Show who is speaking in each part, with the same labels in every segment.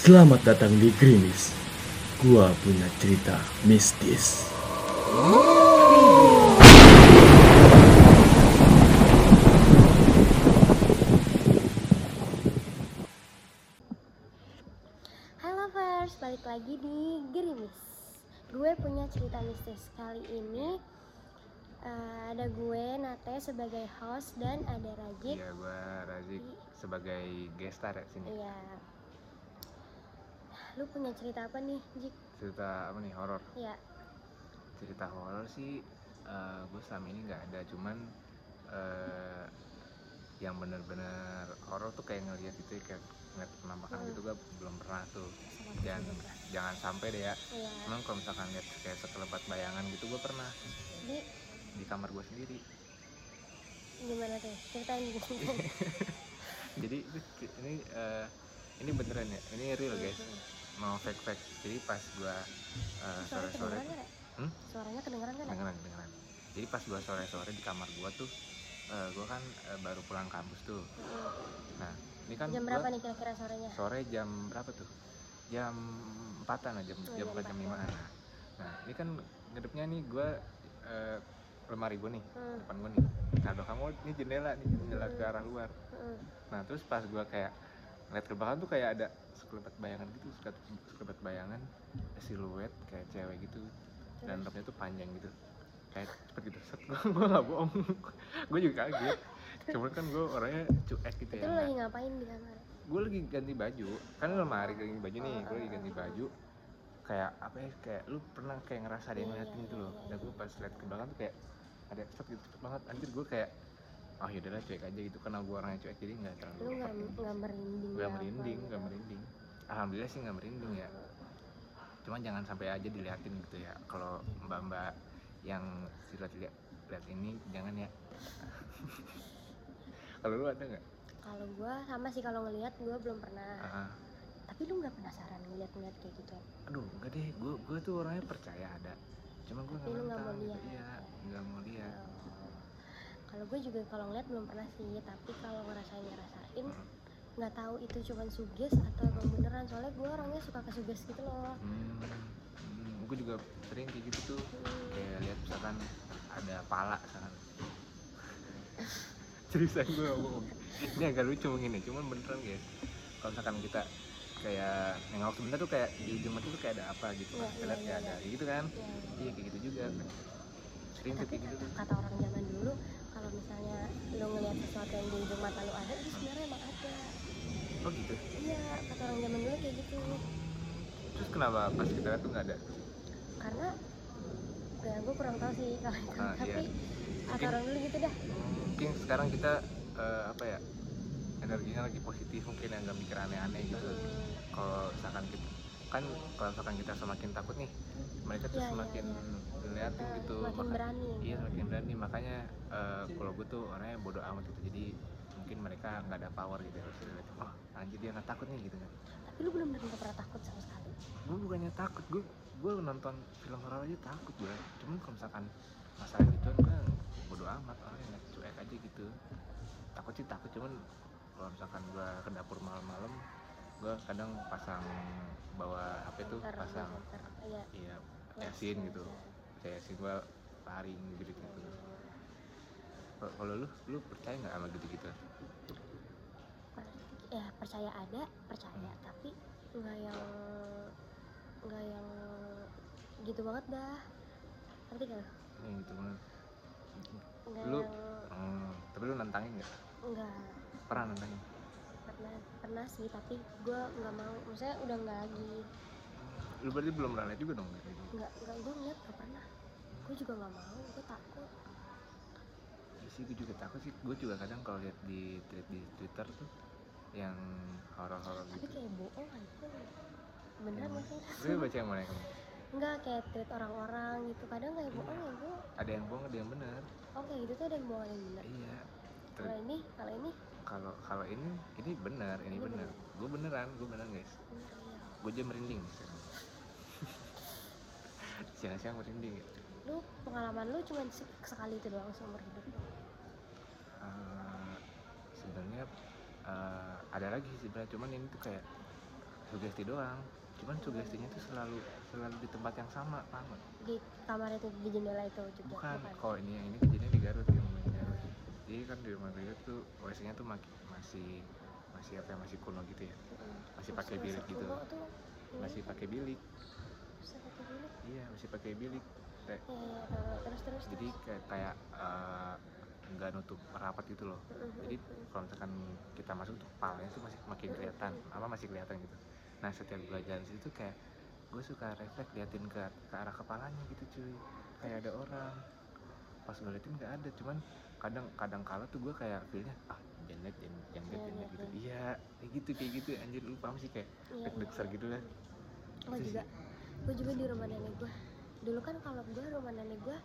Speaker 1: Selamat datang di Grimis. Gua punya cerita mistis.
Speaker 2: Hai lovers, balik lagi di Gerimis Gue punya cerita mistis Kali ini eh, ada gue, Nate sebagai host dan ada Rajik
Speaker 3: Iya, gua Razik sebagai gestar ya sini.
Speaker 2: Iya Lu punya cerita apa nih, Jik?
Speaker 3: Cerita apa nih horor?
Speaker 2: Ya,
Speaker 3: Cerita horor sih eh gue selama ini nggak ada, cuman eh yang bener-bener horor tuh kayak ngeliat gitu ya, kayak ngeliat penampakan
Speaker 2: Hmm.
Speaker 3: gitu gue belum pernah tuh.
Speaker 2: sama
Speaker 3: Dan jangan sampai deh ya.
Speaker 2: Iya,
Speaker 3: Emang kalau misalkan lihat kayak sekelebat bayangan gitu gue pernah
Speaker 2: jadi
Speaker 3: di kamar gue sendiri.
Speaker 2: gimana tuh? Ceritain dulu
Speaker 3: Jadi ini- ini eh ini beneran ya, ini real
Speaker 2: Iya,
Speaker 3: guys, no fake fake. Jadi pas gue
Speaker 2: Suaranya
Speaker 3: sore-sore
Speaker 2: kedengeran gak? Rek?
Speaker 3: Ah, Hmm?
Speaker 2: Suaranya kedengeran gak? Rek?
Speaker 3: dengeran dengeran jadi pas gua sore sore di kamar gua tuh eh, gua kan eh, baru pulang kampus tuh
Speaker 2: Mm-mm.
Speaker 3: ini kan
Speaker 2: Jam
Speaker 3: gua
Speaker 2: berapa nih kira-kira sorenya?
Speaker 3: sore jam berapa tuh jam empatan lah jam
Speaker 2: Oh,
Speaker 3: jam
Speaker 2: jam
Speaker 3: empat jam lima
Speaker 2: empatan.
Speaker 3: nah ini kan ngedepnya nih gua eh, lemari gua nih
Speaker 2: Hmm,
Speaker 3: depan gua nih nah belakang gua ini jendela nih jendela ke arah luar
Speaker 2: mm-mm.
Speaker 3: nah terus pas gua kayak ngeliat ke belakang tuh kayak ada sekelebat bayangan gitu sekelebat, sekelebat bayangan siluet kayak cewek gitu
Speaker 2: Terus,
Speaker 3: dan rambutnya tuh panjang gitu kayak cepet gitu set gue gak bohong gue juga kaget cuman kan gue orangnya cuek
Speaker 2: Itu
Speaker 3: gitu ya
Speaker 2: lu lagi ngapain di kamar?
Speaker 3: gue lagi ganti baju kan lemari lagi ganti baju nih gue lagi ganti baju kayak apa ya kayak lu pernah kayak ngerasa ada yang
Speaker 2: Iya,
Speaker 3: ngeliatin
Speaker 2: iya,
Speaker 3: gitu loh
Speaker 2: iya,
Speaker 3: dan
Speaker 2: iya.
Speaker 3: gue pas liat ke belakang tuh kayak ada set gitu cepet banget anjir gue kayak oh yaudahlah cuek aja gitu karena gue orangnya cuek jadi nggak terlalu
Speaker 2: Lu gak, gak merinding
Speaker 3: gue
Speaker 2: apa
Speaker 3: merinding
Speaker 2: gitu?
Speaker 3: gak merinding alhamdulillah sih gak merinding ya cuman jangan sampai aja diliatin gitu ya kalau mbak mbak yang silat lihat lihat ini jangan ya kalau lu ada nggak
Speaker 2: Kalau gua sama sih kalau ngelihat gua belum pernah.
Speaker 3: Ah,
Speaker 2: Tapi lu nggak penasaran ngeliat-ngeliat kayak gitu?
Speaker 3: aduh enggak deh gue gue tuh orangnya percaya ada cuman gue
Speaker 2: Tapi
Speaker 3: nggak
Speaker 2: lu nggak
Speaker 3: nantang
Speaker 2: mau
Speaker 3: gitu
Speaker 2: lihat.
Speaker 3: iya nggak mau lihat
Speaker 2: Oh. Kalau gue juga kalau ngeliat belum pernah sih, tapi kalau ngerasain ngerasain nggak tahu itu cuman suges atau emang beneran soalnya gue orangnya suka kesuges gitu loh.
Speaker 3: hmm, gue juga sering kayak gitu tuh
Speaker 2: Hmm.
Speaker 3: kayak lihat misalkan ada pala misalkan cerita gue ngomong ini agak lucu mungkin ya cuman beneran guys kalau misalkan kita kayak nengok sebentar tuh kayak di ujung mata tuh kayak ada apa gitu
Speaker 2: Iya,
Speaker 3: kan
Speaker 2: iya,
Speaker 3: kita lihat
Speaker 2: iya, iya.
Speaker 3: kayak ada kayak gitu kan
Speaker 2: Ya.
Speaker 3: iya kayak gitu juga sering tuh
Speaker 2: Tapi
Speaker 3: kayak gitu
Speaker 2: kata,
Speaker 3: tuh
Speaker 2: kata orang zaman dulu kalau misalnya lu ngeliat sesuatu yang di ujung mata lu ada, itu sebenarnya emang ada.
Speaker 3: oh gitu
Speaker 2: Iya, kata orang zaman dulu kayak gitu.
Speaker 3: terus kenapa pas kita lihat tuh nggak ada
Speaker 2: Karena ya gue kurang tahu sih kalau itu,
Speaker 3: Ah,
Speaker 2: tapi
Speaker 3: iya.
Speaker 2: kata
Speaker 3: Mungkin-
Speaker 2: orang dulu gitu dah.
Speaker 3: mungkin sekarang kita eh, apa ya energinya lagi positif mungkin yang nggak mikir aneh-aneh gitu
Speaker 2: Hmm.
Speaker 3: kalau misalkan kita kan kalau misalkan kita semakin takut nih mereka
Speaker 2: Iya,
Speaker 3: tuh
Speaker 2: iya,
Speaker 3: semakin
Speaker 2: iya.
Speaker 3: ngeliatin
Speaker 2: Nah,
Speaker 3: gitu
Speaker 2: makin
Speaker 3: maka-
Speaker 2: berani
Speaker 3: iya semakin berani makanya eh, kalau gue tuh orangnya bodoh amat gitu jadi mungkin mereka nggak ada power gitu terus dia liat, oh anjir dia nggak takut nih gitu kan
Speaker 2: tapi lu belum benar pernah takut sama sekali
Speaker 3: gue bukannya takut gue gue nonton film horor aja takut gue cuman kalau misalkan masalah gitu gue bodoh amat orangnya nggak cuek aja gitu takut sih takut cuman kalau misalkan gue ke dapur malam-malam gue kadang pasang bawa hp tuh
Speaker 2: Bentar,
Speaker 3: pasang
Speaker 2: bentar. iya
Speaker 3: iya
Speaker 2: kelas,
Speaker 3: yasin gitu
Speaker 2: iya.
Speaker 3: kayak yasin gue lari gitu gitu Kalau- kalau lu lu percaya nggak sama gitu gitu
Speaker 2: Per- ya percaya ada percaya
Speaker 3: Hmm.
Speaker 2: tapi nggak yang nggak yang gitu banget dah ngerti gak lu?
Speaker 3: yang gitu banget
Speaker 2: nggak
Speaker 3: Lu-
Speaker 2: yang
Speaker 3: hmm, tapi lu nantangin nggak
Speaker 2: nggak
Speaker 3: pernah nantangin
Speaker 2: pernah pernah sih tapi gue nggak mau maksudnya udah nggak lagi
Speaker 3: lu berarti belum pernah lihat juga dong kayak gitu
Speaker 2: nggak nggak gue ngeliat nggak pernah gue juga nggak mau gue takut
Speaker 3: Iya sih gue juga takut sih gue juga kadang kalau lihat di tweet di twitter tuh yang horor-horor
Speaker 2: tapi
Speaker 3: gitu
Speaker 2: kayak bohong aja beneran
Speaker 3: Emang.
Speaker 2: gak sih
Speaker 3: lu baca yang mana yang kamu?
Speaker 2: nggak kayak tweet orang-orang gitu kadang kayak bohong ya bu
Speaker 3: ada yang bohong ada yang benar
Speaker 2: oh kayak gitu tuh ada yang bohong ada yang bener
Speaker 3: iya
Speaker 2: kalau ini kalau ini
Speaker 3: kalau kalau ini ini benar ini
Speaker 2: Ini
Speaker 3: benar gue beneran gue beneran guys
Speaker 2: bener ya
Speaker 3: gue aja merinding sekarang. siang-siang merinding ya
Speaker 2: lu pengalaman lu cuma se- sekali itu doang seumur hidup lu.
Speaker 3: Eh, sebenarnya eh, ada lagi sih sebenarnya cuman ini tuh kayak sugesti doang cuman sugestinya tuh selalu selalu di tempat yang sama paham nggak?
Speaker 2: di kamar itu di jendela itu juga
Speaker 3: bukan kalau ini yang ini kejadian di Garut yang di Garut jadi kan di rumah Garut tuh WC nya tuh maki- masih masih apa ya masih kuno gitu ya
Speaker 2: Mm-mm.
Speaker 3: masih pakai
Speaker 2: Terus
Speaker 3: bilik
Speaker 2: masuk
Speaker 3: gitu.
Speaker 2: kubuk tuh, ini
Speaker 3: masih
Speaker 2: kan,
Speaker 3: pakai bilik
Speaker 2: masih pakai bilik
Speaker 3: iya masih pakai bilik Kayak-
Speaker 2: Iya, iya, iya. terus terus
Speaker 3: jadi kayak kayak eh, nggak nutup rapat gitu loh jadi kalau misalkan kita masuk tuh kepalanya tuh masih makin kelihatan apa masih kelihatan gitu nah setiap gue jalan situ tuh kayak gue suka refleks liatin ke, ke arah kepalanya gitu cuy kayak ada orang pas gue liatin nggak ada cuman kadang kadang kala tuh gue kayak feelnya ah jangan liat jangan jangan liat jangan liat," gitu iya kayak gitu kayak gitu anjir lu paham sih kayak deg-deg ser gitu lah
Speaker 2: gue
Speaker 3: Itu
Speaker 2: Iya, juga gue juga di rumah nenek gue dulu kan kalau gue rumah nenek gue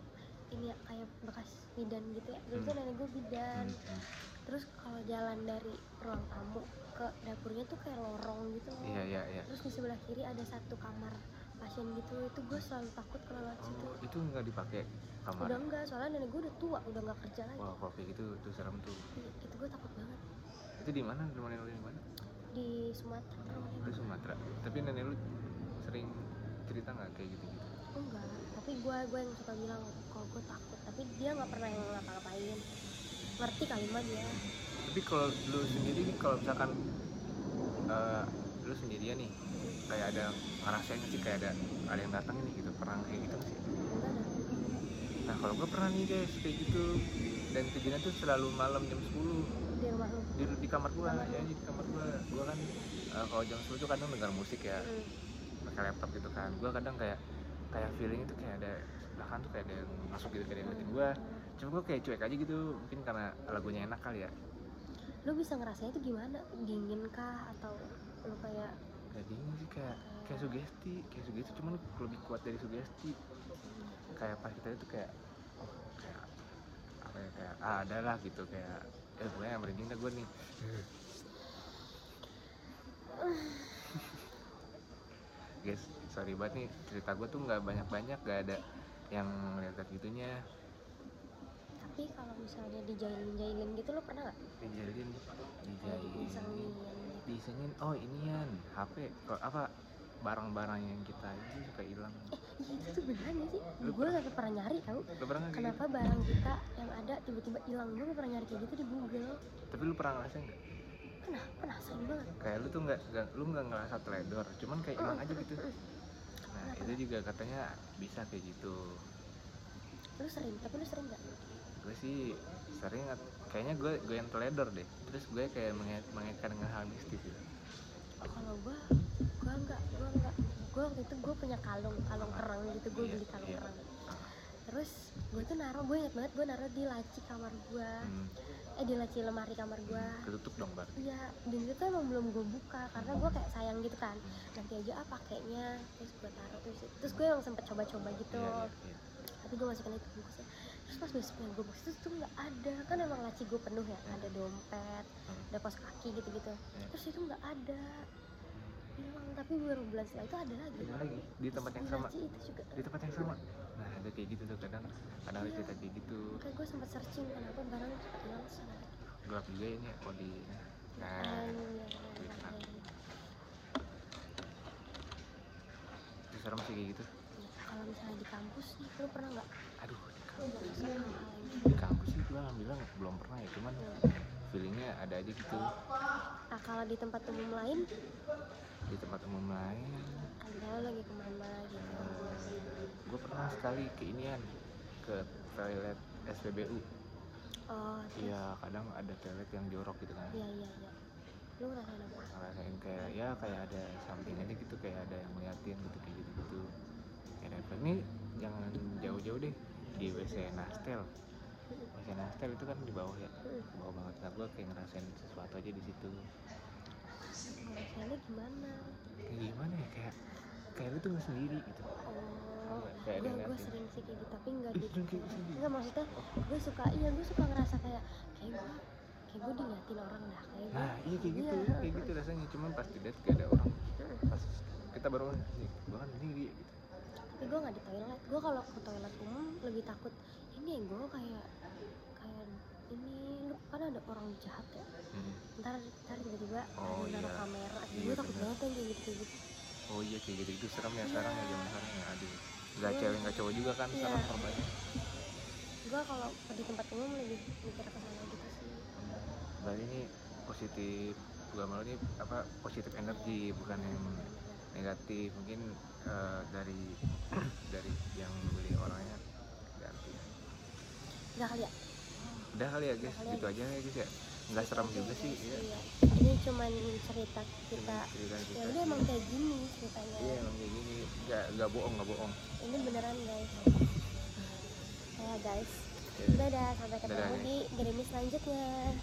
Speaker 2: ini ya, kayak bekas bidan gitu ya dulu tuh
Speaker 3: Hmm.
Speaker 2: nenek gue bidan
Speaker 3: Hmm, hmm.
Speaker 2: terus kalau jalan dari ruang tamu ke dapurnya tuh kayak lorong gitu loh.
Speaker 3: iya iya iya
Speaker 2: terus di sebelah kiri ada satu kamar pasien gitu itu gue selalu takut kalau lewat situ
Speaker 3: oh itu nggak dipakai kamar
Speaker 2: Gitu. udah enggak soalnya nenek gue udah tua udah nggak kerja lagi
Speaker 3: wah kalau kayak gitu tuh serem tuh
Speaker 2: Iya, itu gue takut banget
Speaker 3: itu di mana di mana di mana
Speaker 2: di Sumatera rumah nenek
Speaker 3: Lu Sumatera. Tapi nenek lu sering cerita nggak kayak gitu-gitu?
Speaker 2: gue enggak tapi gue gue yang suka bilang kalau gue takut tapi dia nggak pernah yang ngapa-ngapain ngerti kali mah dia
Speaker 3: Tapi kalau lu sendiri nih, kalau misalkan eh, lu sendirian nih, kayak ada ngerasain nggak sih kayak ada ada yang datang nih gitu, pernah kayak gitu nggak sih?
Speaker 2: Enggak ada.
Speaker 3: Nah kalau gue pernah nih guys kayak gitu dan kejadian tuh selalu malam jam 10
Speaker 2: di rumah lu
Speaker 3: di, di kamar gua
Speaker 2: Kamar
Speaker 3: ya
Speaker 2: lu.
Speaker 3: di kamar gua gua kan eh, kalau jam 10 tuh kadang dengar musik ya
Speaker 2: Hmm.
Speaker 3: pakai laptop gitu kan gua kadang kayak kayak feeling itu kayak ada belakang tuh kayak ada yang masuk gitu kayak ada yang ngeliatin gua cuma gue kayak cuek aja gitu mungkin karena lagunya enak kali ya
Speaker 2: lu bisa ngerasain itu gimana dingin kah atau lu kayak
Speaker 3: gak dingin sih kayak kayak sugesti kayak sugesti cuman lebih kuat dari sugesti kayak pas kita itu kayak oh, kayak apa ya kayak ah ada lah gitu kayak ya pokoknya yang merinding dah gue nih guys sorry banget nih cerita gue tuh nggak banyak banyak gak ada yang ngeliat gitunya
Speaker 2: tapi kalau misalnya dijailin jailin gitu lu pernah nggak
Speaker 3: dijalin
Speaker 2: kayak
Speaker 3: dijalin
Speaker 2: misalnya
Speaker 3: disengin oh inian HP kok apa barang-barang yang kita itu suka hilang
Speaker 2: Ih, itu tuh beneran gak sih
Speaker 3: Lu
Speaker 2: gue sampai pernah nyari tau
Speaker 3: lu pernah nggak kayak gitu?
Speaker 2: kenapa barang kita yang ada tiba-tiba hilang gue pernah nyari kayak gitu di Google
Speaker 3: tapi lu pernah ngerasain nggak
Speaker 2: pernah penasaran banget
Speaker 3: kayak lu tuh nggak nggak- lu nggak ngerasa teledor cuman kayak hilang aja gitu nah itu juga katanya bisa kayak gitu
Speaker 2: lu sering tapi lu sering nggak
Speaker 3: gue sih sering ngat- kayaknya gue gue yang teledor deh terus gue kayak mengait- mengaitkan dengan hal mistis gitu
Speaker 2: kalau gue gue nggak gue nggak gue waktu itu gue punya kalung kalung kerang gitu gue
Speaker 3: Iya,
Speaker 2: beli kalung
Speaker 3: iya.
Speaker 2: kerang terus gue tuh naruh gue inget banget gue naruh di laci kamar gue
Speaker 3: hmm.
Speaker 2: eh di laci lemari kamar gue
Speaker 3: ketutup dong bar
Speaker 2: iya dan itu tuh emang belum gue buka karena gue kayak sayang gitu kan nanti aja ah pakainya terus gue taruh terus terus gue emang sempet coba-coba gitu
Speaker 3: iya, iya.
Speaker 2: tapi gue masukin itu bungkusnya terus pas besoknya gue bungkus terus tuh nggak ada kan emang laci gue penuh ya ada dompet
Speaker 3: Iya. Hmm. Iya.
Speaker 2: ada kos kaki gitu-gitu terus itu nggak ada hilang tapi baru bulan setelah itu ada lagi
Speaker 3: Ada lagi di tempat yang sama
Speaker 2: laci itu juga
Speaker 3: di tempat yang sama nah ada kayak gitu tuh kadang kadang ada cerita kayak gitu
Speaker 2: kayak gue Kan sempet searching kenapa barang hilang sama
Speaker 3: gelap juga ini ya kalau di nah
Speaker 2: Ay,
Speaker 3: Twitter.
Speaker 2: ay.
Speaker 3: itu serem sih kayak gitu
Speaker 2: Ya, kalau misalnya di kampus nih lu pernah nggak
Speaker 3: aduh di
Speaker 2: lu
Speaker 3: kampus
Speaker 2: ngerasain hal-hal yang
Speaker 3: di kampus sih gue alhamdulillah nggak- belum pernah ya cuman feelingnya ada aja gitu
Speaker 2: nah, kalau di tempat umum lain
Speaker 3: di tempat umum lain
Speaker 2: ada lu lagi kemana gitu
Speaker 3: gue pernah sekali ke inian ke toilet SPBU
Speaker 2: oh terus
Speaker 3: iya kadang ada toilet yang jorok gitu kan
Speaker 2: iya iya iya lu ngerasain apa
Speaker 3: ngerasain kayak ya kayak ada samping aja gitu kayak ada yang ngeliatin gitu kayak gitu gitu kayak refleks nih jangan jauh-jauh deh di WC Nastel WC Nastel itu kan di bawah ya
Speaker 2: Hmm,
Speaker 3: di bawah banget nah gue kayak ngerasain sesuatu aja di situ
Speaker 2: ngerasainnya gimana
Speaker 3: kayak gimana ya kayak kayak lu tuh nggak sendiri gitu
Speaker 2: oh
Speaker 3: Kayak ya.
Speaker 2: gue
Speaker 3: ada
Speaker 2: gue
Speaker 3: ngeliatin.
Speaker 2: sering sih kayak gitu tapi nggak
Speaker 3: Ih,
Speaker 2: di
Speaker 3: lu kayak gini.
Speaker 2: nggak maksudnya gue suka iya gue suka ngerasa kayak kayak gue kayak gue diliatin orang dah kayak gue
Speaker 3: nah iya kayak gitu
Speaker 2: Iya.
Speaker 3: kayak gitu rasanya cuman pas dilihat kayak ada orang
Speaker 2: Heeh.
Speaker 3: pas kita baru nih gue kan sendiri gitu
Speaker 2: tapi gue nggak di toilet gue kalau ke toilet umum lebih takut ini ya gue kayak kayak ini lu kan ada orang jahat ya
Speaker 3: Hmm.
Speaker 2: ntar ntar tiba-tiba
Speaker 3: Oh,
Speaker 2: ada naruh
Speaker 3: iya.
Speaker 2: kamera aduh
Speaker 3: Iya,
Speaker 2: gue takut
Speaker 3: bener.
Speaker 2: banget yang kayak gitu kayak gitu
Speaker 3: oh iya kayak gitu itu serem ya sekarang ya zaman sekarang ya aduh nggak
Speaker 2: Iya.
Speaker 3: cewek nggak cowok juga kan
Speaker 2: Iya.
Speaker 3: sekarang serba ya.
Speaker 2: gue kalau di tempat umum lebih mikir ke sana gitu sih
Speaker 3: Hmm. berarti ini positif gua malu ini apa positif energi bukan yang negatif mungkin eh, dari dari yang beli orangnya ganti ya.
Speaker 2: udah kali ya
Speaker 3: udah kali ya
Speaker 2: Udah
Speaker 3: guys
Speaker 2: kali ya,
Speaker 3: gitu aja ya guys ya nggak serem juga sih ya.
Speaker 2: Iya. ini cuman cerita kita
Speaker 3: cerita
Speaker 2: ya
Speaker 3: kita
Speaker 2: udah emang kayak gini ceritanya
Speaker 3: iya emang kayak gini nggak nggak bohong nggak bohong
Speaker 2: ini beneran guys ya guys
Speaker 3: Ya. Iya.
Speaker 2: dadah sampai ketemu
Speaker 3: Dadah,
Speaker 2: di gerimis selanjutnya